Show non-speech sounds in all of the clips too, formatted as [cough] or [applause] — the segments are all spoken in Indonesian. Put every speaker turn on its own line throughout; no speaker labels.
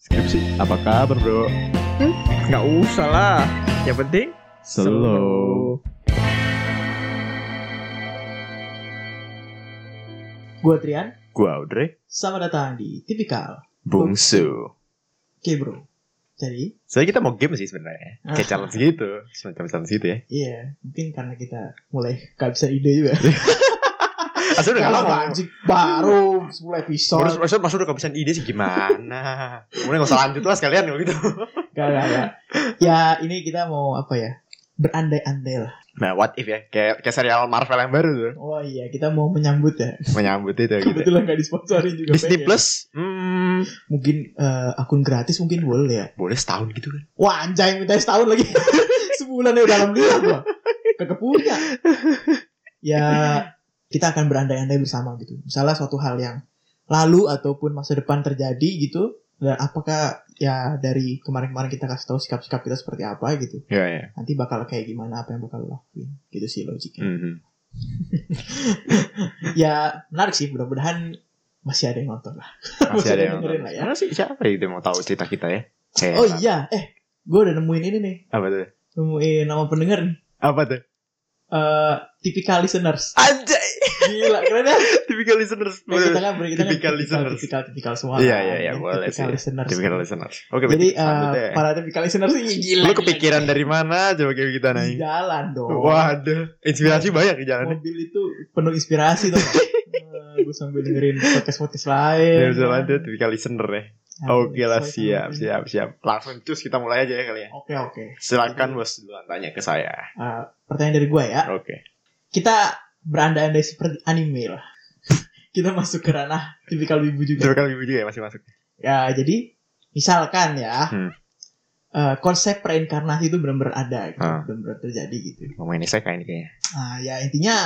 sih? Apa kabar bro?
Nggak usah lah. Yang penting
Slow.
Gua Trian,
Gua Audrey.
selamat datang di Tipikal.
Bungsu.
Oke bro, jadi
Sebenarnya kita mau game sih sebenarnya. Kayak
Ah.
challenge gitu. Semacam challenge gitu ya.
iya mungkin karena kita mulai kehabisan ide juga.
Asal udah
Kalau
lama.
anjing baru 10 episode,
Terus maksud maksud udah kehabisan ide sih gimana? Kemudian nggak usah lanjut lah sekalian kalau gitu.
gak, gak, gak. Ya ini kita mau apa ya? Berandai-andai lah.
Nah, what if ya? Kayak, kayak serial Marvel yang baru tuh.
Oh iya, kita mau menyambut ya.
Menyambut itu gitu.
Kebetulan gak disponsorin juga.
Disney
pengen.
Plus, hmm,
Mungkin eh, akun gratis mungkin boleh ya.
boleh setahun gitu kan?
Wah anjay minta setahun lagi. Sebulan ya udah alhamdulillah gua. Kagak punya. Ya kita akan berandai-andai bersama gitu. Misalnya suatu hal yang lalu ataupun masa depan terjadi gitu. Dan apakah ya dari kemarin-kemarin kita kasih tahu sikap-sikap kita seperti apa gitu.
Iya, iya.
Nanti bakal kayak gimana apa yang bakal lo lakuin. Gitu sih logiknya.
Mhm.
Ya menarik sih mudah-mudahan masih ada yang nonton lah.
Masih ada yang
Dengerin lah ya.
Sebenarnya sih siapa gitu yang mau tahu cerita kita ya? Kayak,
Oh iya, eh gue udah nemuin ini nih.
Apa tuh?
Nemuin nama pendengar nih.
Apa tuh?
Eh, typical listeners.
Anjay,
Gila, keren ya.
typical listeners.
Nah, kita kan kita kan
Typical
tipikal
listeners.
tipikal tipikal semua.
Iya,
kan,
iya, iya,
ya,
boleh
tipikal
sih.
listeners.
Typical listeners. Oke,
Jadi
berarti selanjutnya
eh,
ya.
para tipikal listeners ini
Lu
gila. gila,
kepikiran
gila. Ya
dari mana coba kayak kita
Di
nanya?
jalan dong.
Waduh, inspirasi
Ya
banyak di jalan.
Mobil itu penuh inspirasi
[laughs]
tuh. gue sambil dengerin podcast podcast lain.
Ya bisa lanjut typical listener ya.
Aduh,
Oke lah,
sorry,
siap,
sorry.
siap, siap. Langsung cus kita mulai aja ya kali ya.
Oke oke.
Silakan bos duluan tanya ke saya.
Eh, pertanyaan dari gue ya.
Oke.
Kita berandai-andai seperti anime lah. [laughs] Kita masuk ke ranah tipikal ibu juga.
Typical ibu juga ya masih masuk.
Ya jadi misalkan ya
Hmm.
eh, konsep reinkarnasi itu benar-benar ada, gitu,
Ah.
benar-benar terjadi gitu.
Ngomongin ini saya kayak ini kayaknya.
Nah, ya intinya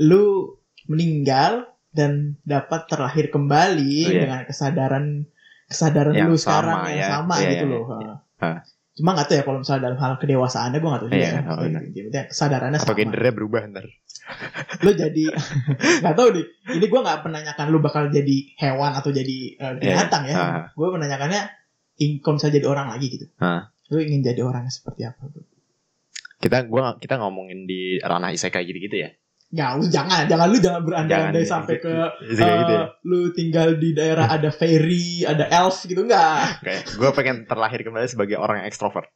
lu meninggal dan dapat terlahir kembali
Iya.
dengan kesadaran kesadaran
Yang
lu
sama,
sekarang
ya.
yang sama
Iya,
gitu
iya,
loh.
Hah.
Cuma nggak tahu ya kalau misalnya dalam hal kedewasaannya gue nggak tahu
Iya,
juga.
nggak tahu,
ya.
benar.
Gitu. Maksudnya kesadarannya
Atau
sama.
gendernya berubah ntar.
Lu jadi [laughs] nggak tahu nih. Ini gue nggak menanyakan lu bakal jadi hewan atau jadi eh, binatang ya.
Ah,
Gue menanyakannya in- kalau misalnya jadi orang lagi gitu.
Ah.
Lu ingin jadi orang seperti apa? Gitu. Bro?
Kita gua kita ngomongin di ranah isekai gitu-gitu ya.
Nggak, lu jangan, jangan lu jangan berandai-andai
Jangan,
sampai ke
Isekai gitu ya.
Eh, lu tinggal di daerah ada fairy, ada elf gitu enggak?
Kayak gua pengen terlahir kembali sebagai orang yang ekstrovert.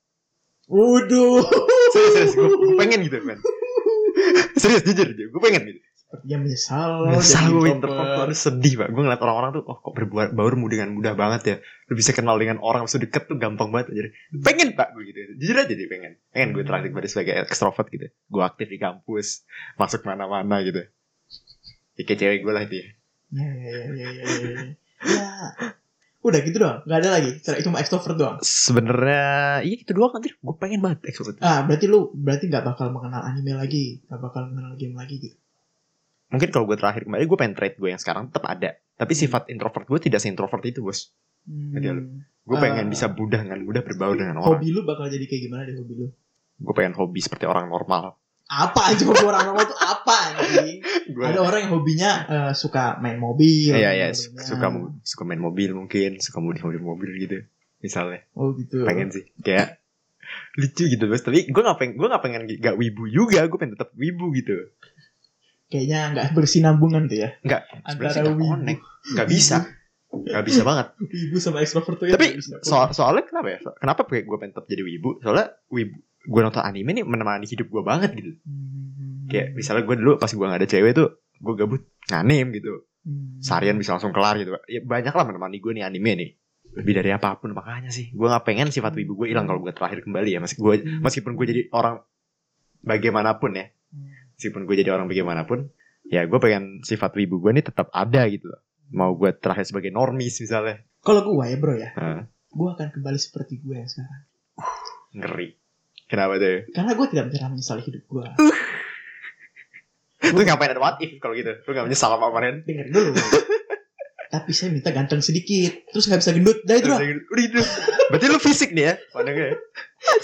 Waduh.
Serius, serius gue, pengen gitu men [laughs] serius jujur gue pengen gitu
Sepertinya menyesal.
Menyesal
jadi
gue
introvert.
introvert terus sedih pak gue ngeliat orang-orang tuh oh kok berbaur dengan mudah banget ya lu bisa kenal dengan orang bisa deket tuh gampang banget jadi pengen pak gue gitu jujur aja deh pengen pengen gue terlahir kembali sebagai ekstrovert gitu gue aktif di kampus masuk mana-mana gitu Ya, kayak cewek gue lah itu ya
Ya, ya, ya, ya, ya, ya, ya. Ya. Udah gitu doang, enggak ada lagi. Cara cuma extrovert doang.
sebenarnya iya itu doang anjir gue pengen banget ekstrovert
Ah, berarti lu berarti nggak bakal mengenal anime lagi, nggak bakal mengenal game lagi gitu.
mungkin kalau gue terakhir kembali gue pengen trait gue yang sekarang tetap ada tapi sifat introvert gue tidak se introvert itu bos
Hmm.
Jadi lu- Gue pengen
Ah.
bisa mudah dengan mudah berbaur dengan orang.
Hobi lu bakal jadi kayak gimana deh hobi lu?
Gue pengen hobi seperti orang normal.
Apa anjing hobi orang normal tuh apa anjing? Ada
Gue
orang yang hobinya eh, suka main mobil.
Iya iya
gitu.
su- suka mu- suka main mobil mungkin, suka main mobil mobil gitu. Misalnya
Oh gitu.
pengen sih kayak lucu gitu bos tapi gue gak pengen gue gak pengen gak wibu juga gue pengen tetap wibu gitu
kayaknya nggak bersinambungan tuh ya
Nggak,
antara
Sebenarnya sih nggak
wibu,
connect. nggak bisa nggak bisa banget
wibu sama ekstrovert tuh ya
tapi
nggak bisa.
soal soalnya kenapa ya So- kenapa gue pengen tetap jadi wibu soalnya wibu gue nonton anime nih menemani hidup gue banget gitu
Hmm.
kayak misalnya gue dulu pas gue gak ada cewek tuh gue gabut nganim gitu
Hmm.
seharian bisa langsung kelar gitu Pak. ya banyak lah menemani gue nih anime nih lebih dari apapun makanya sih gue nggak pengen sifat wibu gue hilang kalau gue terakhir kembali ya meski gue
Hmm.
meskipun gue jadi orang bagaimanapun ya meskipun gue jadi orang bagaimanapun ya gue pengen sifat wibu gue nih tetap ada gitu loh mau gue terakhir sebagai normis misalnya
kalau gue ya bro ya
Heeh.
gue akan kembali seperti gue yang sekarang
ngeri kenapa tuh
karena gue tidak pernah menyesali hidup gue
lu ngapain ada what if kalau gitu lu nggak menyesal apa kemarin
denger dulu
[laughs]
tapi saya minta ganteng sedikit terus nggak bisa gendut dah itu
Terus
doang.
dia gitu, udah gitu berarti lu fisik nih ya pandangnya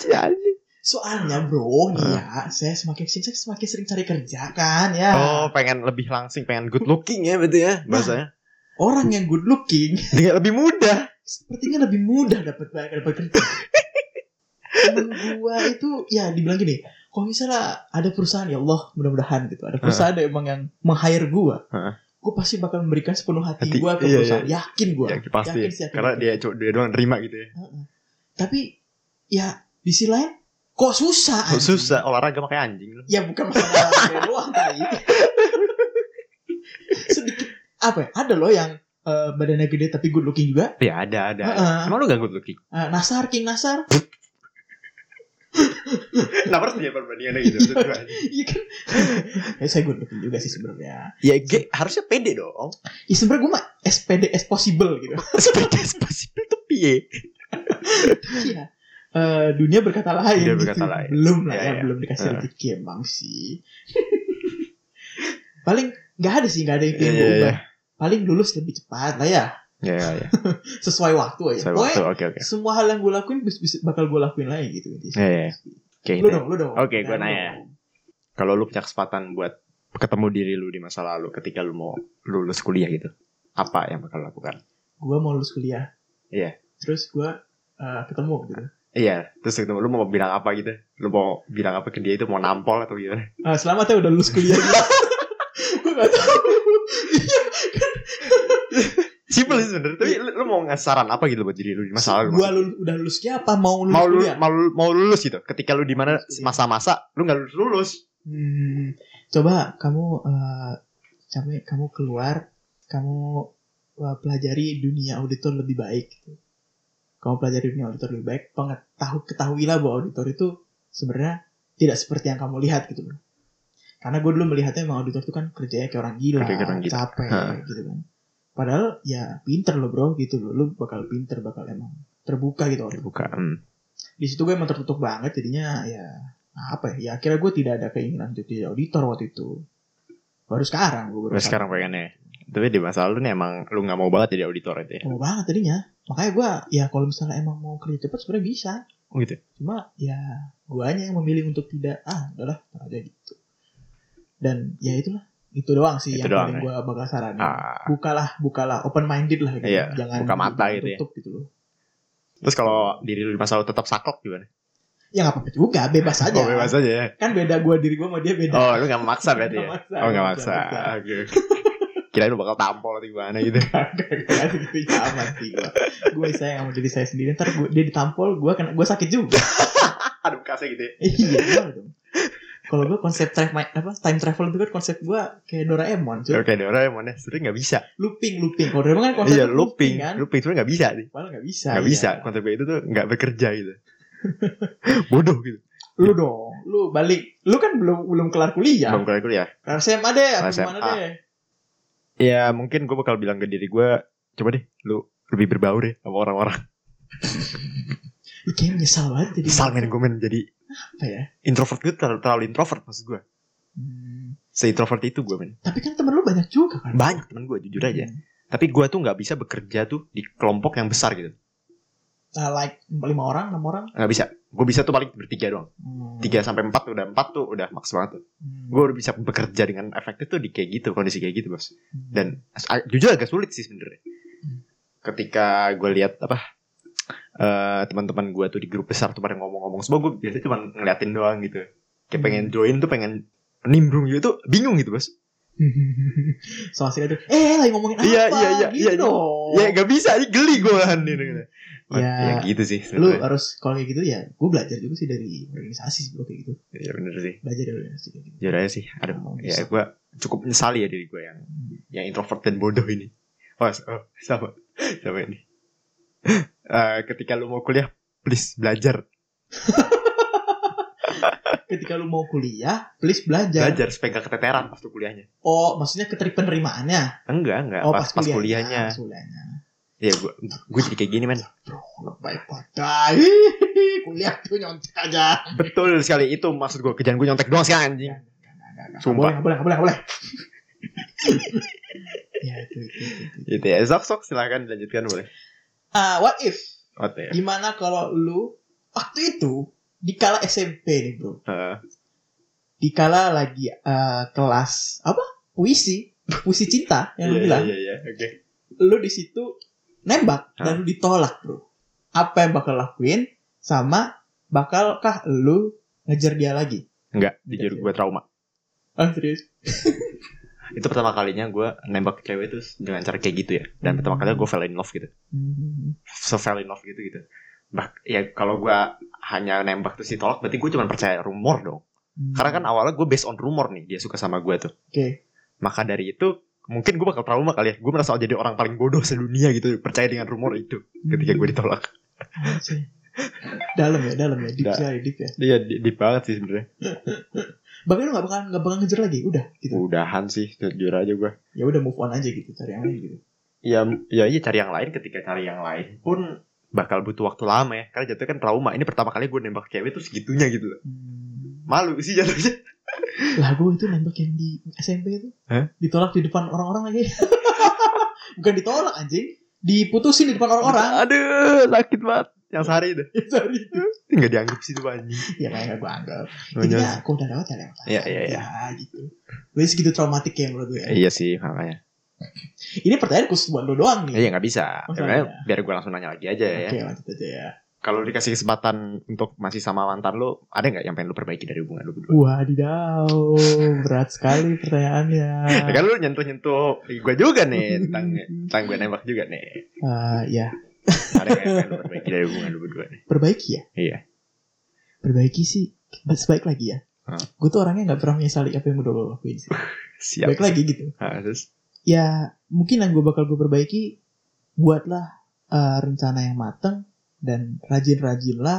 Si anjing.
soalnya bro
Ah.
nih ya saya semakin sini saya semakin sering cari kerja kan ya
oh pengen lebih Nah, langsing pengen good looking ya berarti ya bahasanya
orang yang good looking
Dia lebih mudah
sepertinya lebih mudah dapat dapat kerja. Temen gua itu ya dibilang gini, kalau misalnya ada perusahaan ya Allah mudah-mudahan gitu, ada perusahaan emang yang meng-hire gua,
Heeh.
gua pasti bakal memberikan sepenuh hati,
Hati,
gua ke
iya,
perusahaan, yakin gua.
ya pasti
Yakin sih, yakin.
karena dia cuma dia doang nerima gitu ya
Heeh. Tapi ya di sisi lain kok susah.
Kok
anjing?
susah olahraga pakai anjing lu
Ya bukan masalah saya doang tai. Sedikit apa ya? Ada loh yang eh, badannya gede tapi good looking juga.
ya ada ada
Heeh.
emang lu gak good looking
Eh, Nasar King Nasar.
[laughs] kenapa harus dia perbandingannya gitu Maksud gua, anjing.
Iya kan? [laughs] ya, saya good looking juga sih sebenarnya.
ya ge- harusnya pede dong
Ya sebenarnya gue mah SPD as possible gitu.
[laughs] sepeda sepeda tuh piye
[laughs] Iya. Eh, dunia berkata lain.
Dunia
gitu.
berkata lain.
Belum lah
Ya,
ya,
ya.
belum dikasih
Heeh.
rezeki emang sih. [laughs] Paling nggak ada sih, nggak ada yang pengen
Iya,
gue
iya.
ubah. Paling lulus lebih cepat lah ya,
ya ya ya
sesuai waktu
saya
aja. Pokoknya
waktu oke oke
semua hal yang gue lakuin bis- bis- bakal gue lakuin lagi gitu.
Iya, iya. oke
Lu dong, lu dong.
Oke, gua
Nah, lu
nanya.
dong.
kalau lu punya kesempatan buat ketemu diri lu di masa lalu ketika lu mau lulus kuliah gitu apa yang bakal lu lakukan
Gua mau lulus kuliah.
Iya.
Terus gua eh, ketemu gitu.
iya terus gitu lu mau bilang apa gitu lu mau bilang apa ke dia itu mau nampol atau gimana
Eh, selamat ya udah lulus
[laughs]
kuliah. gue gak tahu.
simple sih sebenernya tapi lu, lu mau ngasih saran apa gitu buat diri lu di masa lalu
Gua lul- udah lulusnya apa mau lulus
mau lu
kuliah?
mau, lu- mau lulus gitu ketika lu di mana
Lulus kuliah.
masa-masa lu nggak lulus lulus
Hmm, coba kamu eh sampai kamu keluar, kamu eh, pelajari dunia auditor lebih baik. Gitu. Kamu pelajari dunia auditor lebih baik, pengetahu ketahuilah bahwa auditor itu sebenarnya tidak seperti yang kamu lihat gitu loh. Karena gue dulu melihatnya emang auditor itu kan kerjanya kayak orang gila,
Kerja kayak orang gila.
capek
Ha.
gitu kan. Padahal ya pinter loh bro gitu loh, lu bakal pinter bakal emang terbuka gitu auditor
buka hmm.
di situ gue emang tertutup banget jadinya ya apa ya, ya akhirnya gue tidak ada keinginan untuk jadi auditor waktu itu baru sekarang gue baru
Terus sekarang pengennya tapi di masa lalu nih emang lu nggak mau banget jadi auditor itu ya
mau banget tadinya makanya gue ya kalau misalnya emang mau kerja cepat sebenarnya bisa
Oh, gitu
cuma ya guanya yang memilih untuk tidak ah udahlah ntar aja gitu dan ya itulah itu doang sih
Itu
yang
doang, ya.
paling gue bakal saranin
ah.
bukalah bukalah open minded lah gitu
Iya,
jangan
buka mata gitu ya.
tutup gitu loh
terus kalau diri lu di masa lalu tetap saklek gimana
ya nggak apa-apa juga bebas
[laughs]
aja
oh bebas aja ya
kan beda gue diri gue sama dia beda
oh lu nggak memaksa berarti ya
Nggak maksa,
[laughs] oh nggak
nggak
maksa
maksa.
oke oke. [laughs] kirain lu bakal tampol atau gimana [laughs] gitu
Gak segitu amat sih gue Gue sayang sama diri saya sendiri Ntar gua, dia ditampol Gue kena gue sakit juga [laughs]
ada bekasnya gitu ya
Eh, Iya gimana dong Kalau gue konsep time, apa, time travel itu kan konsep gue Kayak Doraemon cuy
Oke, Doraemon ya, sebenernya nggak bisa.
Looping looping Kalau Doraemon kan konsep
Iya, looping,
kan
looping sebenernya nggak bisa nih.
Padahal gak bisa
Nggak
iya.
bisa, konsep kayak itu tuh nggak bekerja gitu. [laughs] Bodoh gitu.
Lu dong Lu balik Lu kan belum belum kelar kuliah
Belum kelar kuliah.
SMA deh apa
SMA.
Gimana deh
Ya mungkin gue bakal bilang ke diri gue, coba deh, lu lebih berbaur deh sama orang-orang. [laughs]
Lu kayak menyesal banget jadi
Misal men gue men jadi
Apa ya
introvert gue terlalu, terlalu introvert maksud gue.
Hmm,
Se-introvert itu gue men.
Tapi kan temen lu banyak juga kan Hmm.
Banyak temen gue jujur aja. Tapi gue tuh nggak bisa bekerja tuh di kelompok yang besar gitu.
Nah, like lima orang enam orang
Nggak bisa. Gue bisa tuh paling bertiga doang.
Hmm.
Tiga sampai empat tuh, udah empat tuh udah maks banget tuh.
Hmm.
Gue udah bisa bekerja dengan efektif tuh di kayak gitu kondisi kayak gitu bos. dan a- jujur agak sulit sih sebenarnya ketika gue lihat apa eh, teman-teman gue tuh di grup besar tuh pada ngomong-ngomong semua gue biasanya cuma ngeliatin doang gitu kayak
Hmm.
pengen join tuh pengen nimbrung gitu tuh bingung gitu bos
[laughs] so asik aja eh lagi ngomongin apa
Iya, iya, iya, iya.
gitu dong
ya gak bisa ini geli gue kan ini gitu.
Ya.
ya gitu sih
lu
sebenarnya
harus kalau kayak gitu ya gue belajar juga sih dari organisasi sih bro, kayak gitu
ya bener sih
belajar dari organisasi kayak gitu
jujur aja sih aduh
Oh,
ya
bisa. Hmm.
gue cukup menyesali ya diri gue yang yang introvert dan bodoh ini oh, s- oh, sama [laughs] sama ini Eh, ketika lu mau kuliah please belajar
ketika lu mau kuliah please belajar,
belajar supaya gak keteteran pas tuh kuliahnya
oh maksudnya keterik penerimaannya
Enggak, enggak.
oh
pas, pas kuliahnya. Ah,
pas kuliahnya
Ya gue gue jadi kayak gini, men.
bro lebay pada [laughs] kuliah tuh nyontek aja
Betul sekali itu maksud gue. Kerjaan gue nyontek doang sih anjing. Sumpah.
Sumpah. Boleh, nggak boleh, nggak boleh, [laughs] nggak boleh. ya, itu, itu, itu, itu.
Gitu ya. Sok sok silakan dilanjutkan boleh.
Ah, what if?
What the-
Gimana kalau lu waktu itu di kala SMP nih bro,
Heeh.
di kala lagi eh, kelas apa puisi puisi cinta yang
Iya,
lu bilang,
Iya, iya, oke.
lu di situ nembak
Hah?
dan lu ditolak bro apa yang bakal lakuin sama bakalkah lu ngejar dia lagi
Enggak, jujur gue trauma.
oh serius
Itu pertama kalinya gue nembak cewek itu dengan cara kayak gitu ya. Dan pertama kalinya gue fell in love gitu.
Hmm.
So fell in love gitu gitu. Bah, ya kalau gue hanya nembak terus ditolak berarti gue cuma percaya rumor dong. Karena kan awalnya gue based on rumor nih dia suka sama gue tuh.
oke
Maka dari itu mungkin gue bakal trauma kali ya. Gue merasa jadi orang paling bodoh sedunia gitu percaya dengan rumor itu ketika gue ditolak.
Anjing. Hmm. dalam ya dalam ya deep
Da-
sekali, deep ya
Iya di, di banget sih sebenarnya.
bahkan lu gak bakal nggak bakal ngejar lagi udah gitu
Udahan sih jujur aja gue.
ya udah move on aja gitu cari yang lain gitu
Ya ya iya cari yang lain ketika cari yang lain pun bakal butuh waktu lama ya karena jatuhnya kan trauma ini pertama kali gue nembak cewek tuh segitunya gitu loh
Hmm.
malu sih jatuhnya
lah gue itu nembak yang di SMP itu
Hah?
ditolak di depan orang-orang lagi [laughs] bukan ditolak anjing diputusin di depan
[laughs]
orang-orang
aduh sakit banget yang sehari itu
sorry
nggak dianggap sih tuh anjing
ya kayak gue anggap
Iya.
intinya kalau udah lewat ya lewat aja.
Iya, iya, iya.
Ya, gitu Jadi segitu traumatik ya menurut gue ya.
iya sih makanya
ini pertanyaan khusus buat lo doang nih
iya nggak bisa
Masa
Sebenarnya
iya?
biar gue langsung nanya lagi aja ya
oke lanjut aja ya
kalau dikasih kesempatan untuk masih sama mantan lo ada nggak yang pengen lo perbaiki dari hubungan lo berdua
wadidaw berat sekali pertanyaannya
Ya kan lo nyentuh-nyentuh gue juga
[laughs]
nih tentang tentang gue nembak juga nih
Eh, ya
ada nggak yang pengen lo perbaiki dari hubungan lo berdua nih
perbaiki ya
Iya.
perbaiki sih sebaik lagi ya
Hmm.
gue tuh orangnya nggak pernah menyesali apa yang udah lo lakuin sih
siap
baik lagi gitu
Ah, terus
ya mungkin yang gue bakal gue perbaiki buatlah eh, rencana yang matang dan rajin-rajinlah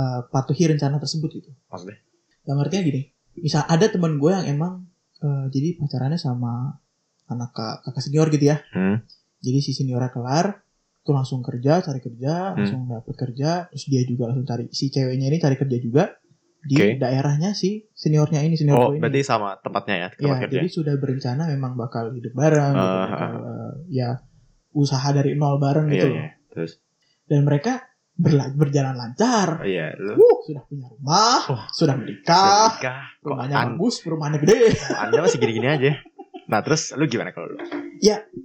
eh, patuhi rencana tersebut gitu.
maksudnya
Dalam artinya gini, misal ada teman gue yang emang eh, jadi pacarannya sama anak ka- kakak senior gitu ya.
Hmm.
Jadi si seniornya kelar, tuh langsung kerja, cari
Hmm.
kerja, langsung dapet kerja, terus dia juga langsung cari si ceweknya ini cari kerja juga di
Oke.
daerahnya si seniornya ini senior
oh
gue ini.
berarti sama tempatnya ya tempat
Ya,
kerja
jadi sudah berencana memang bakal hidup bareng, gitu,
Ah,
bakal, eh, ya usaha dari nol bareng
iya
gitu.
iya
loh.
terus
Dan mereka berla- berjalan lancar.
oh, iya lo
Wuh, sudah punya rumah,
Wah.
sudah
udah
menikah,
nikah kok
rumahnya
an
bagus, perumahannya gede. [laughs]
anda masih gini-gini aja nah terus lu gimana kalau lu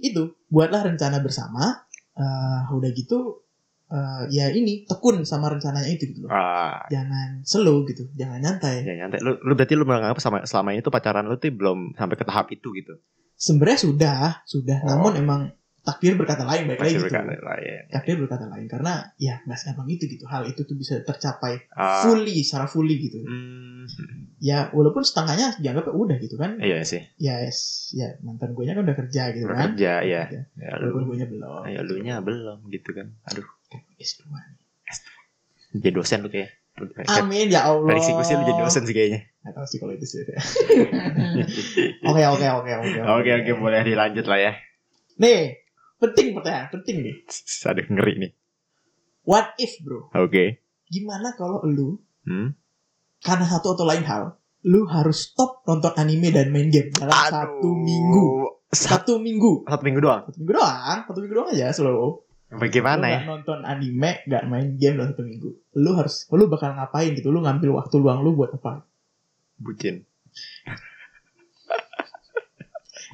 Itu buatlah rencana bersama. eh, udah gitu, eh, ya ini tekun sama rencananya itu gitu. loh.
ah
Jangan slow gitu, jangan nyantai.
ya nyantai lu, lu berarti lu menganggap sama selama ini tuh pacaran lu tuh belum sampai ke tahap itu gitu
Sebenarnya sudah, sudah.
Oh.
Namun emang takdir berkata lain, baik lagi
masih iya.
gitu.
berkata lain
takdir berkata lain karena ya nggak segampang itu gitu hal itu tuh bisa tercapai
Ah.
fully secara fully gitu
Hmm,
ya walaupun setengahnya dianggap udah gitu kan
iya sih
ya yes, ya mantan gue nya kan udah kerja gitu
udah
kan
kerja ya
Kerja.
ya
walaupun
lu
gue nya belum
ya lu nya belum gitu kan aduh
S2
jadi dosen lu kayak
amin ya Allah
prediksi gue sih lu jadi dosen sih kayaknya
nggak tahu sih kalau itu sih [laughs] oke oke oke oke
oke oke
Iya.
boleh dilanjut lah ya
nih penting pertanyaan penting nih
aduh ngeri nih
what if bro
oke
gimana kalau lu
hmm
karena satu atau lain hal lu harus stop nonton anime dan main game dalam
Aduh.
satu minggu
Sat-
satu minggu
satu minggu doang
satu minggu doang satu minggu doang aja slow lu
bagaimana ya
nggak nonton anime gak main game dalam satu minggu lu harus lu bakal ngapain gitu lu ngambil waktu luang lu buat apa
bucin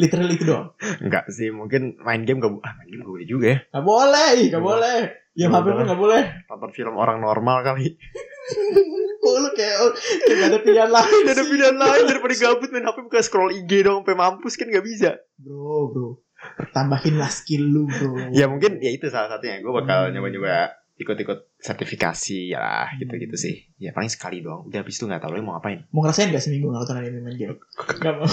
literally itu doang
enggak sih mungkin main game gak ah, main game gak boleh juga ya
gak boleh ih, gak boleh ya
Nggak
HP lu
boleh.
gak boleh
nonton film orang normal kali
kok lu kayak oh, kayak gak ada [laughs] pilihan lain
ada
sih.
pilihan lain daripada gabut main HP bukan scroll IG dong sampai mampus kan gak bisa
bro bro tambahin lah skill lu bro
ya mungkin ya itu salah satunya gue bakal
Hmm.
nyoba-nyoba ikut-ikut sertifikasi ya lah gitu-gitu sih ya paling sekali doang udah habis itu nggak tahu lagi mau [laughs] ngapain
mau ngerasain gak seminggu nggak nonton anime main game gak mau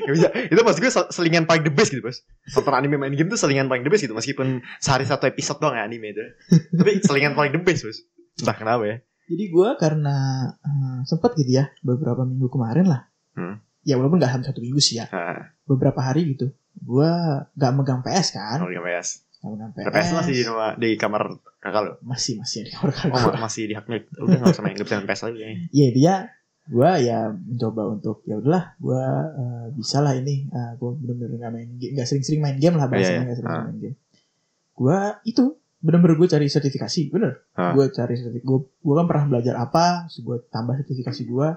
Gak bisa. Gak bisa. Itu maksud gue sel- selingan paling the best gitu, Bos. Nonton anime main game tuh selingan paling the best gitu. Meskipun sehari satu episode doang ya anime itu. Tapi selingan paling the best, Bos. Entah kenapa ya.
jadi gue karena sempat gitu ya beberapa minggu kemarin lah
Hmm.
ya walaupun gak sampai satu minggu sih ya
Nah,
beberapa hari gitu gue gak megang PS kan
nol PS.
Gak megang PS,
PS masih di rumah di kamar kakak lo.
masih masih di
Oh,
kamar kakak
ma- masih di hak milik. Udah enggak usah main enggak bisa main PS lagi kayaknya.
ya dia gue ya mencoba untuk ya udahlah gue eh, bisa lah ini Eh, gue bener-bener gak main game gak sering-sering main game lah
Iya,
bahasanya
iya.
gak sering-sering main game gue itu bener-bener gue cari sertifikasi bener
Ah.
gue cari sertifikasi gue kan pernah belajar apa terus gue tambah sertifikasi gue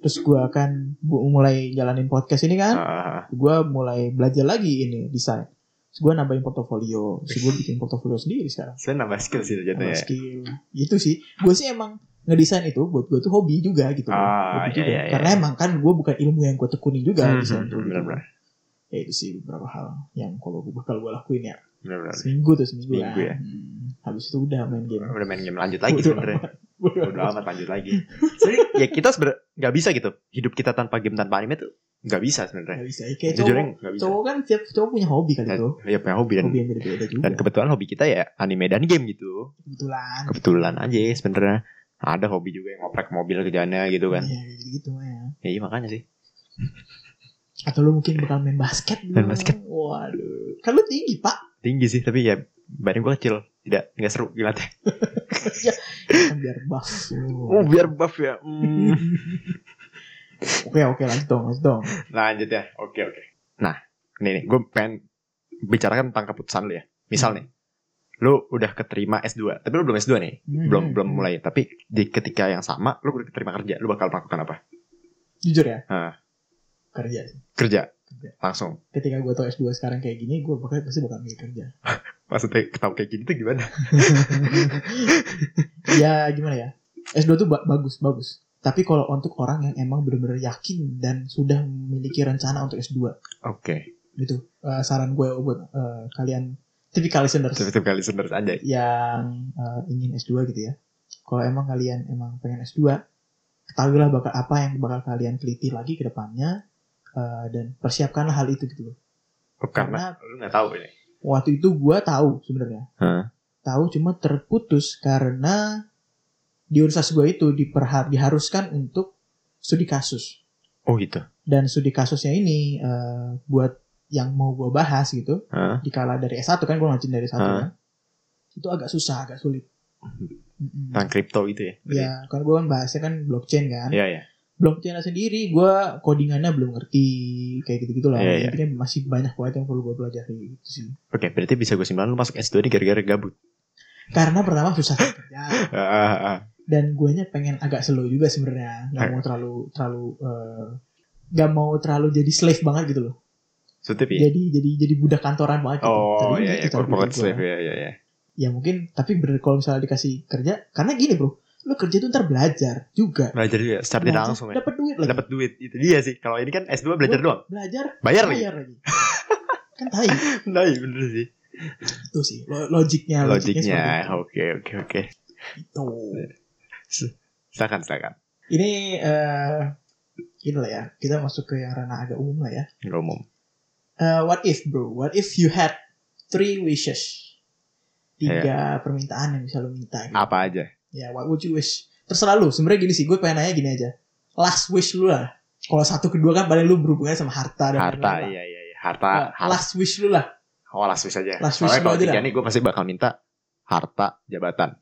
terus gue akan bu- mulai jalanin podcast ini kan
Ah, ah, ah.
gue mulai belajar lagi ini desain Terus gue nambahin portofolio. Terus gue bikin portofolio sendiri sekarang.
Sebenarnya nambah skill sih
Tambah
jatuhnya. ya.
skill. Gitu sih. Gue sih emang ngedesain itu buat gue tuh hobi juga gitu.
Ah, iya,
Hobi juga.
iya, iya.
Karena emang kan gue bukan ilmu yang gue tekuni juga.
Hmm,
desain tuh. gitu.
benar-benar.
Ya itu sih beberapa hal yang kalau gue bakal gue lakuin ya.
Benar-benar.
Seminggu tuh seminggu,
Seminggu
lah.
ya.
Hmm. Habis itu udah main game. [laughs]
Udah main game lanjut lagi
Bodoh
sebenarnya. Udah amat lanjut lagi. Jadi ya kita sebenarnya nggak bisa gitu. Hidup kita tanpa game tanpa anime tuh nggak bisa sebenarnya.
Gak bisa. Ya, Kayak
Jujur
cowok,
nggak bisa.
cowok kan tiap cowok punya hobi kali
Dan-
itu.
Ya punya hobi dan
Hobi yang beda-beda juga.
dan kebetulan hobi kita ya anime dan game gitu.
Kebetulan.
Kebetulan aja sebenarnya ada hobi juga yang ngoprek mobil kerjaannya gitu kan.
Iya gitu-gitu ya.
Ya iya makanya sih.
Atau lu mungkin bakal main basket gitu.
Main basket.
Waduh. Kan lu tinggi pak.
Tinggi sih tapi ya badan gua kecil. Tidak nggak seru gila teh.
Kan biar buff. lu.
[laughs] Oh biar buff ya. Hmm.
Oke oke lanjut dong lanjut dong.
[laughs] Lanjut ya. Oke oke. Nah, nih nih gue pengen bicarakan tentang keputusan lu ya.
Hmm.
Misal nih, lu udah keterima S2, tapi lu belum S2 nih.
Hmm.
Belum belum mulai, tapi di ketika yang sama lu udah keterima kerja, lu bakal melakukan apa?
Jujur ya.
Ah.
Kerja. sih.
Kerja.
Kerja.
Langsung.
Ketika gue tau S2 sekarang kayak gini, gue bakal pasti bakal milih kerja.
Maksudnya ketawa kayak gini tuh gimana?
ya gimana ya. S2 tuh ba- bagus bagus. Tapi kalau untuk orang yang emang bener-bener yakin dan sudah memiliki rencana untuk S2
[laughs] Oke.
gitu. Eh, saran gue buat eh, kalian typical listeners.
Tapi kali sebentar aja.
yang uh, ingin S2 gitu ya. Kalau emang kalian emang pengen S2, ketahuilah bakal apa yang bakal kalian teliti lagi ke depannya uh, dan persiapkanlah hal itu gitu loh.
Oh, karena, lu nggak tahu ini.
waktu itu gua tahu sebenarnya.
Hah?
Tahu cuma terputus karena di universitas gua itu diperha- diharuskan untuk studi kasus.
Oh gitu.
Dan studi kasusnya ini uh, buat yang mau gua bahas gitu,
Hah?
dikala dari S1 kan gua ngajarin dari S1
Hah?
kan. Itu agak susah, agak sulit. Mm-mm.
Tentang kripto gitu ya.
Ya, kan gue kan bahasnya kan blockchain kan.
Iya iya.
Blockchain sendiri gue codingannya belum ngerti kayak gitu-gitu lah.
Iya, iya.
Intinya masih banyak banget yang perlu gue pelajari gitu sih.
Oke, berarti bisa gue simpan lu masuk S2 ini gara-gara [laughs] gabut.
Karena pertama susah cari kerja
Ah, ah, ah.
dan guanya pengen agak slow juga sebenarnya.
Iya.
Gak mau terlalu terlalu eh, gak mau terlalu jadi slave banget gitu loh.
Sutip ya?
Jadi jadi jadi budak kantoran banget gitu.
Oh
Tadinya
iya
gitu
iya,
cara
corporate
pikir gua.
slave ya iya iya.
Ya mungkin tapi bener kalau misalnya dikasih kerja karena gini bro, lu kerja tuh ntar belajar juga.
Belajar juga secara tidak
Belajar,
langsung ya.
Dapat duit lagi.
dapat duit itu dia sih kalau ini kan S2 belajar doang
Belajar
bayar lagi
bayar lagi. kan tai.
[laughs] nah iya bener sih Iya,
itu sih lo- logiknya
logiknya iya.
seperti
oke oke oke
itu
silakan silakan
ini eh ini lah ya kita masuk ke yang ranah agak umum lah ya
nggak umum
Eh, what if bro what if you had three wishes tiga
Iya.
permintaan yang bisa lo minta gitu.
apa aja
ya what would you wish terserah lu sebenarnya gini sih gue pengen nanya gini aja last wish lu lah kalau satu kedua kan paling lu berhubungan sama harta dan
harta
lain-lain
iya
lah.
iya iya harta
Nah,
harta
last wish lu lah
oh last wish aja
last wish
soalnya
lu
kalau
aja
tiga
dah.
nih gue pasti bakal minta harta jabatan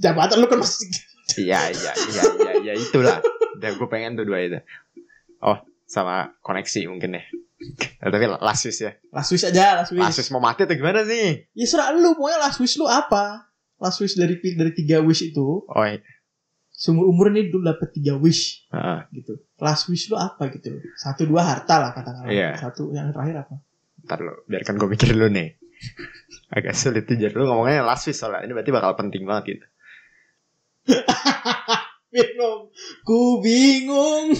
jabatan lu kan masih
iya iya iya iya iya itulah dan gue pengen tuh dua itu oh sama koneksi mungkin ya Nah, tapi last wish ya
last wish aja last wish
last wish mau mati atau gimana sih
ya serah lu maunya last wish lu apa last wish dari dari tiga wish itu
oh iya.
seumur umur ini dulu dapat tiga wish
Heeh.
gitu. Last wish lu apa gitu loh? Satu dua harta lah katakanlah.
Iya.
Satu yang terakhir apa?
Ntar lo, biarkan gue mikir dulu nih. Agak sulit tuh jadi lu ngomongnya last wish soalnya ini berarti bakal penting banget gitu.
Bingung. Ku bingung.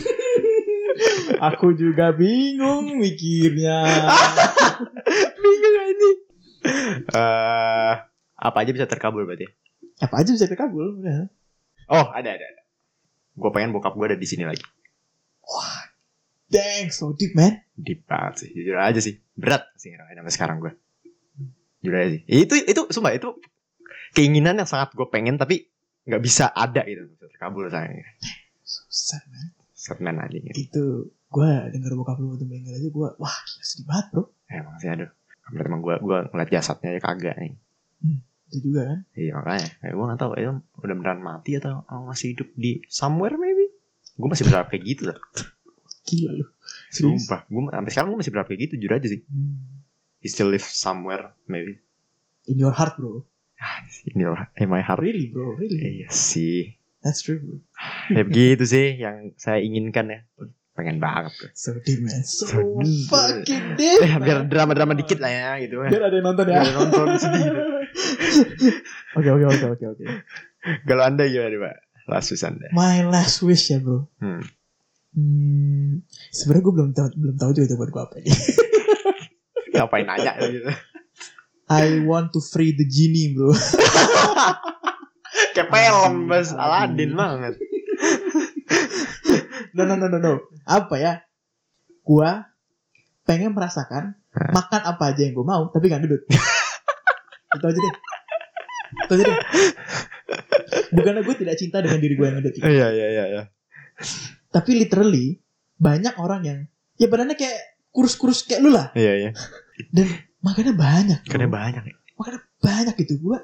[laughs] Aku juga bingung mikirnya.
Bingung ini. Eh apa aja bisa terkabul berarti?
[laughs] apa aja bisa terkabul udah.
Oh ada ada. ada. Gue pengen bokap gue ada di sini lagi.
Dang, so deep man.
Deep banget sih, jujur aja sih. Berat sih ngerasain sampai sekarang gue. Jujur aja sih. Itu itu sumpah itu keinginan yang sangat gue pengen tapi nggak bisa ada gitu bisa terkabul sayangnya.
Susah man.
Semen aja gitu.
Itu gue denger bokap lu waktu meninggal aja gue wah gila sedih banget bro.
Emang sih aduh. Emang gue gue ngeliat jasadnya aja kagak nih.
Itu juga kan.
Iya makanya, kayak gue gak tau, itu udah beneran mati atau oh, masih hidup di somewhere maybe? Gue masih berharap kayak gitu loh.
Gila lu. Serius.
Sumpah, gue sampai sekarang gue masih berharap kayak gitu, jujur aja sih.
Hmm.
He still live somewhere maybe.
In your heart bro.
Ini loh, in my heart.
Really bro, really.
Iya sih.
That's true bro.
Ya begitu sih yang saya inginkan ya. pengen banget tuh.
So deep man. So
So deep.
fucking deep.
Eh, biar
man.
drama-drama dikit lah ya gitu kan.
Biar ada yang nonton ya.
Biar nonton sedih gitu.
Oke oke oke oke oke.
Kalau anda gimana pak? Last wish anda.
My last wish ya bro.
Hmm.
Hmm, sebenarnya gue belum tahu belum tahu juga itu buat gue apa ini. [laughs]
Ngapain nanya gitu.
I want to free the genie bro.
[laughs]
[laughs]
Kayak film mas Aladin banget.
No no no no no. Apa ya? Gua pengen merasakan makan apa aja yang gue mau tapi gak gendut. itu aja deh. Itu aja deh. Bukannya gue tidak cinta dengan diri gue yang gendut.
Iya iya iya. iya.
Tapi literally banyak orang yang ya badannya kayak kurus-kurus kayak lu lah
Iya iya.
dan makannya banyak. bro.
Karena banyak. ya.
makannya banyak gitu. Gua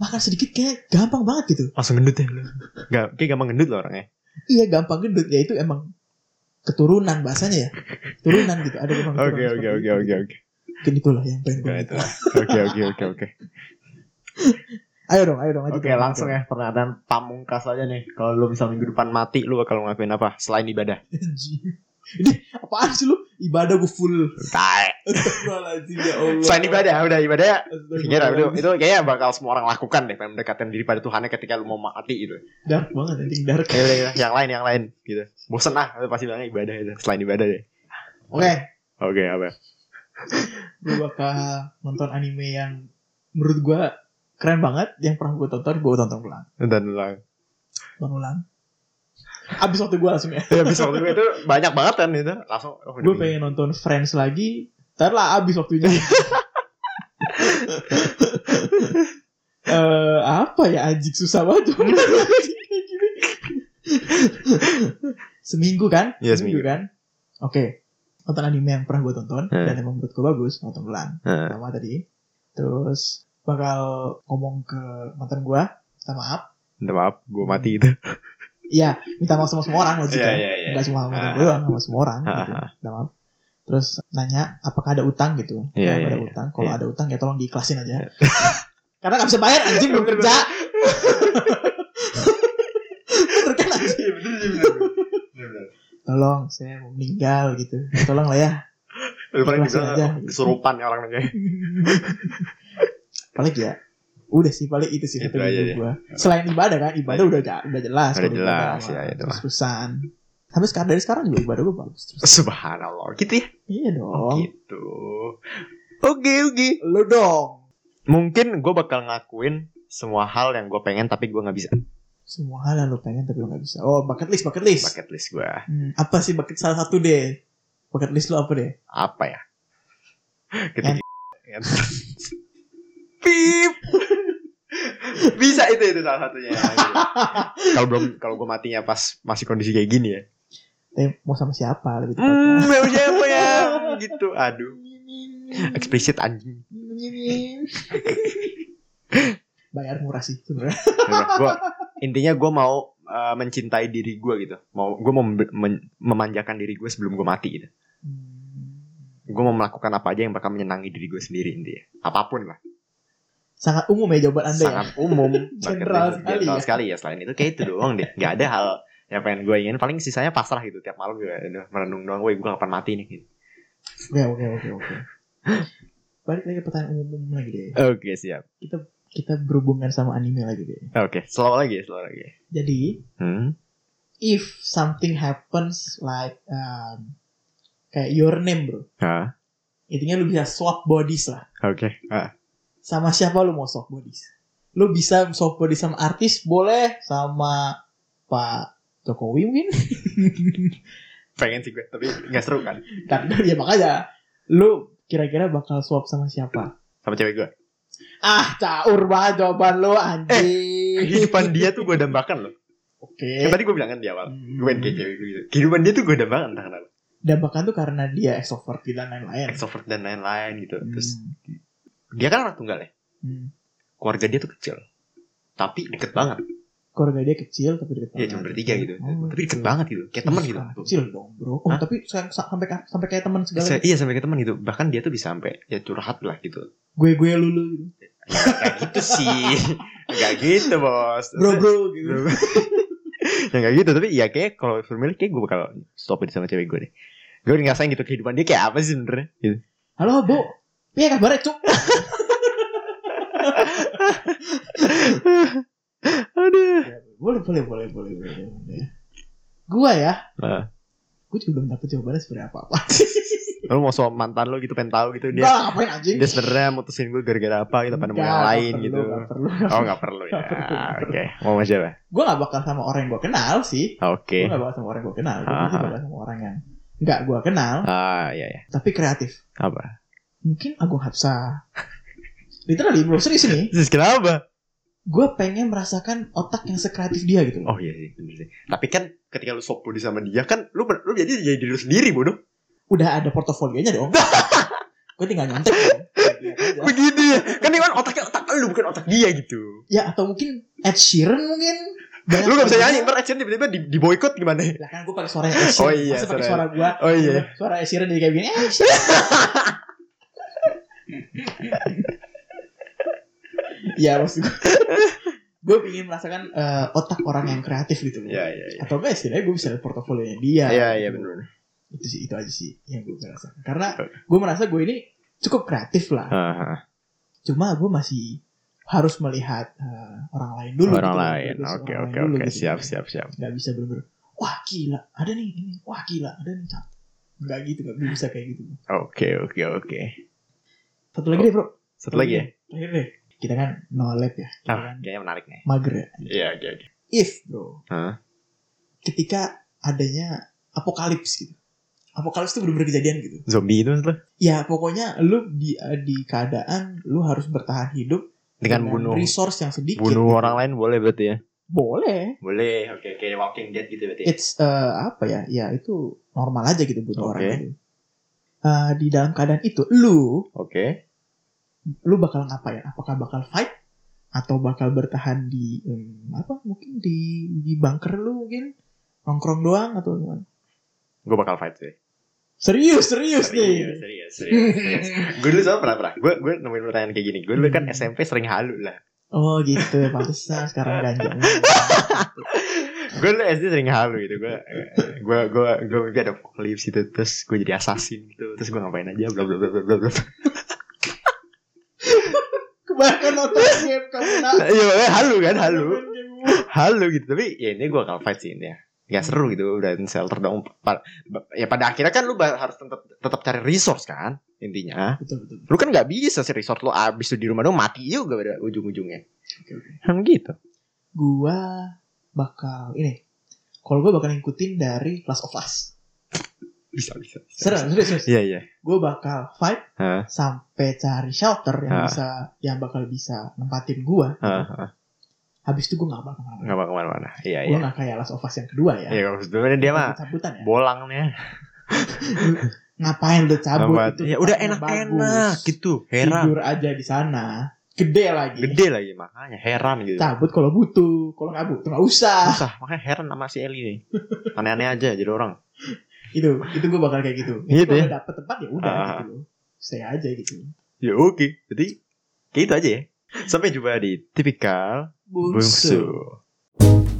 makan sedikit kayak gampang banget gitu.
Langsung gendut ya lu. Gak, kayak gampang gendut loh orangnya.
Iya gampang gendut ya itu emang keturunan bahasanya ya turunan gitu ada emang
Oke oke oke oke oke.
mungkin itulah yang pengen gue
Nah, itu lah. Oke oke oke oke.
ayo dong ayo dong lanjut
Oke
dong.
langsung ya pernyataan pamungkas aja nih. Kalau lu bisa minggu depan mati, lu bakal ngelakuin apa selain ibadah?
ini apaan sih lu ibadah gue full
Tae.
Astagfirullahaladzim ya Allah
Selain ibadah, udah ibadah ya. Kira itu,
Astagfirullahaladzim.
itu kayaknya bakal semua orang lakukan deh, pengen mendekatkan diri pada Tuhannya ketika lu mau mati gitu.
dark banget anjing dark
Ya udah, ya udah, yang lain yang lain gitu. Bosen ah, lu pasti bilangnya ibadah itu. Selain ibadah deh.
oke
Oke apa?
gue bakal nonton anime yang menurut gue keren banget yang pernah gue tonton gue tonton ulang
Dan ulang.
tonton ulang abis waktu gue langsung ya
Ya habis waktu itu banyak banget kan itu. Langsung. Oh,
gue pengen nonton Friends lagi ntar lah abis
[laughs]
waktunya Eh apa ya anjing susah banget
[laughs]
Kayak gini. seminggu kan
Iya, seminggu.
kan oke nonton anime yang pernah gue tonton
Hmm.
dan emang menurut gue bagus nonton ulang
Hmm.
pertama tadi terus bakal ngomong ke mantan gue minta maaf
Minta maaf, gue mati itu.
Iya, minta maaf sama semua orang logiknya.
iya, iya.
Nggak cuma sama
Ah.
gue doang, sama semua orang.
Ah,
Gitu. Minta maaf. Terus nanya, apakah ada utang gitu?
Iya,
Kalau
iya,
ada
iya.
utang, kalau
Iya.
ada utang ya tolong diikhlasin aja. [laughs] Karena nggak bisa bayar, anjing belum kerja. Bener kan, anjing?
iya,
Tolong, saya mau meninggal gitu. Tolong lah ya.
Lu paling
Langsung aja.
dibilang kesurupan ya orang kayak.
Paling ya, udah sih paling itu sih
Itu
kata
aja
guru
deh.
gua. Selain ibadah kan, ibadah udah ja- udah jelas.
Udah
kalau
jelas,
ibadah
ya,
mah
itu mah.
Terus-terusan. Sampai sekarang dari sekarang juga ibadah gue bagus. Terus.
Subhanallah gitu ya.
Iya dong.
Gitu. Oke oke.
Lu dong.
Mungkin gue bakal ngakuin semua hal yang gue pengen tapi gue nggak bisa.
Semua hal yang lu pengen tapi lu gak bisa. Oh, bucket list, bucket list.
Bucket list gue
Hmm, apa sih bucket salah satu deh? Bucket list lu apa deh?
apa ya? Ketika kan. Pip. bisa itu itu salah satunya. kalau belum kalau gue matinya pas masih kondisi kayak gini ya.
Tapi mau sama siapa lebih tepatnya?
[laughs] Hmm, mau siapa ya? Gitu. Aduh. Eksplisit anjing.
Bayar murah sih sebenarnya.
gua intinya gue mau uh, mencintai diri gue gitu mau gue mau mem- men- memanjakan diri gue sebelum gue mati gitu
Hmm.
gue mau melakukan apa aja yang bakal menyenangi diri gue sendiri intinya apapun lah
Sangat umum ya jawaban Anda ya.
sangat umum
[laughs] General
bucket list,
sekali
general
ya.
sekali ya selain itu kayak itu doang deh nggak ada hal yang pengen gue ingin paling sisanya pasrah gitu tiap malam gue aduh, merenung doang gue gue kapan mati nih gitu.
Oke, oke, oke, oke. Balik lagi ke pertanyaan umum lagi deh.
oke siap
Kita berhubungan sama anime lagi deh.
oke slow lagi slow lagi
Jadi,
hmm
if something happens like um, kayak your name bro
Hah?
intinya lu bisa swap bodies lah
oke Ah.
sama siapa lu mau swap bodies lu bisa swap bodies sama artis boleh sama Pak Jokowi mungkin [laughs]
pengen sih gue tapi nggak seru kan
dan ya makanya lu kira-kira bakal swap sama siapa
sama cewek
[laughs]
gue
ah caur banget jawaban lu anjing
Eh, kehidupan dia tuh gue dambakan loh
oke
Yang tadi gue bilang kan di awal
Hmm.
gue pengen kayak cewek gue gitu kehidupan dia tuh gue udah banget entah kenapa
dan bahkan tuh karena dia extrovert dan lain-lain
extrovert dan lain-lain gitu terus
Hmm.
dia kan anak tunggal ya
Hmm.
keluarga dia tuh kecil tapi deket banget
keluarga dia kecil tapi deket
ya
banget.
cuma bertiga gitu
Oh,
tapi deket
gitu.
banget gitu kayak teman
Ih,
gitu
kecil dong bro oh,
Hah?
tapi sa- sa- sampai sampai kayak teman segala
Bisa- iya sampai kayak teman gitu bahkan dia tuh bisa sampai ya curhat lah gitu
gue gue lulu gitu. [laughs]
Gak gitu sih nggak gitu bos
bro bro gitu
Bro. ya nggak gitu tapi ya kayak kalau suruh milih kayak gue bakal stopin sama cewek gue deh gue udah ngerasain gitu kehidupan dia kayak apa sih sebenernya gitu.
Halo, Bu. Piye kabarnya, Cuk?
aduh
boleh, boleh, boleh, boleh, boleh. boleh. Gua ya,
Heeh.
gue juga belum dapet jawabannya seperti apa-apa.
lu mau soal mantan lu gitu pengen tahu gitu
Dia,
dia
ngapain anjing?
dia sebenarnya mutusin gue gara-gara apa gitu pada mau yang lain gitu oh nggak perlu ya
Nggak perlu.
oke mau sama siapa
Gue gak bakal sama orang yang gue kenal sih.
oke
Gue gak bakal sama orang yang gue kenal. Gue
Aha.
pasti bakal sama orang yang gak gue kenal,
ah ya ya
tapi kreatif.
apa
Mungkin Agung Hapsa. Literally, bro, serius ini.
terus kenapa
Gue pengen merasakan otak yang sekreatif dia gitu. loh.
oh iya sih bener sih tapi kan ketika lu soft body sama dia kan lu ber- lu jadi jadi diri lu sendiri bodoh
Udah ada portofolionya dong. [laughs] gue tinggal nyontek. dong. Iya, [laughs] iya.
begitu ya kan ini kan otaknya otak lu bukan otak dia gitu
Ya atau mungkin Ed Sheeran mungkin.
lu gak bisa nyanyi ntar Ed Sheeran tiba-tiba di, di boykot gimana ya
Lah kan gue pakai suara Ed Sheeran.
Oh iya,
Masa pakai
suara-
suara gue.
oh iya
Suara Ed Sheeran jadi kayak gini. Ed Sheeran. ya maksud gue. gue ingin merasakan eh, otak orang yang kreatif gitu loh.
iya iya iya
Atau enggak istilahnya gue bisa lihat portofolionya dia.
iya iya
gitu.
bener
Itu sih itu aja sih yang gue merasa. Karena gue merasa gue ini cukup kreatif lah.
Heeh.
Cuma gue masih harus melihat eh, orang lain dulu.
orang
gitu.
lain
Harus
oke
orang
oke
lain dulu
oke
gitu.
siap siap siap
nggak bisa bener-bener wah gila ada nih ini wah gila ada nih cakep nggak gitu nggak bisa kayak gitu
oke oke oke
satu lagi deh bro
Oh, satu lagi ya
terakhir deh kita kan no lab ya kita
ah
kan
kayaknya menarik nih
mager ya
iya oke oke
if bro
Hah?
ketika adanya apokalips gitu apokalips itu bener-bener kejadian gitu
zombie itu maksud lu
ya pokoknya lu di eh, di keadaan lu harus bertahan hidup
dengan bunuh
resource yang sedikit gitu.
bunuh orang lain boleh berarti ya
boleh
boleh oke kayak walking dead gitu berarti
it's uh, apa ya ya itu normal aja gitu butuh orang
Oke.
gitu Uh, di dalam keadaan itu lu
oke
lu bakal ngapain? Apakah bakal fight atau bakal bertahan di em, apa? Mungkin di di bunker lu mungkin nongkrong doang atau gimana?
gue bakal fight sih
Serius, serius,
serius
nih.
serius serius gue dulu sama pernah pernah gue gue nemuin pertanyaan kayak gini gue dulu kan SMP sering halu lah
Oh gitu, pantesan sekarang ganja. [laughs]
gue dulu SD sering halu gitu gue gue gue gue mimpi ada apocalypse gitu terus gue jadi assassin gitu terus gue ngapain aja bla bla bla bla bla bla [laughs]
Kebanyakan kan nonton game kamu nak.
iya makanya halu kan halu
Main game mulu.
halu gitu tapi ya ini gue akan fight sih ini ya Gak seru gitu udah shelter dong Pa- ya pada akhirnya kan lu ba- harus tetap tetap cari resource kan intinya
Betul, betul.
lu kan nggak bisa sih resource lu abis tuh di rumah dong mati juga pada ujung-ujungnya
Oke, oke.
kan gitu
Gua bakal ini. Kalau gua bakal ngikutin dari Last of Us.
bisa bisa, bisa.
Serius, serius. serius.
iya iya
Gua bakal fight
Hah?
sampai cari shelter
Ah.
yang bisa yang bakal bisa nempatin gua.
Heeh, heeh.
Habis itu gua nggak bakal kemana-mana.
nggak mau kemana-mana iya
Gue
iya
gak kayak Last of Us yang kedua ya.
ya kalau sebenarnya dia mah
Cabut-cabutan ya.
bolangnya
Ngapain lu cabut
Apa-
itu?
ya udah
tempatnya
enak-enak
bagus.
gitu heran
Tidur aja di sana. Gede lagi.
gede lagi makanya heran gitu
Cabut kalau butuh. Kalau nggak butuh nggak usah.
susah makanya heran sama si Eli nih aneh-aneh aja jadi orang
Itu itu gue bakal kayak gitu.
Gitu
Kalau
ya?
udah dapet tempat ya udah
Ah.
gitu loh. Stay aja gitu.
ya oke jadi kayak gitu aja ya sampai jumpa di tipikal bungsu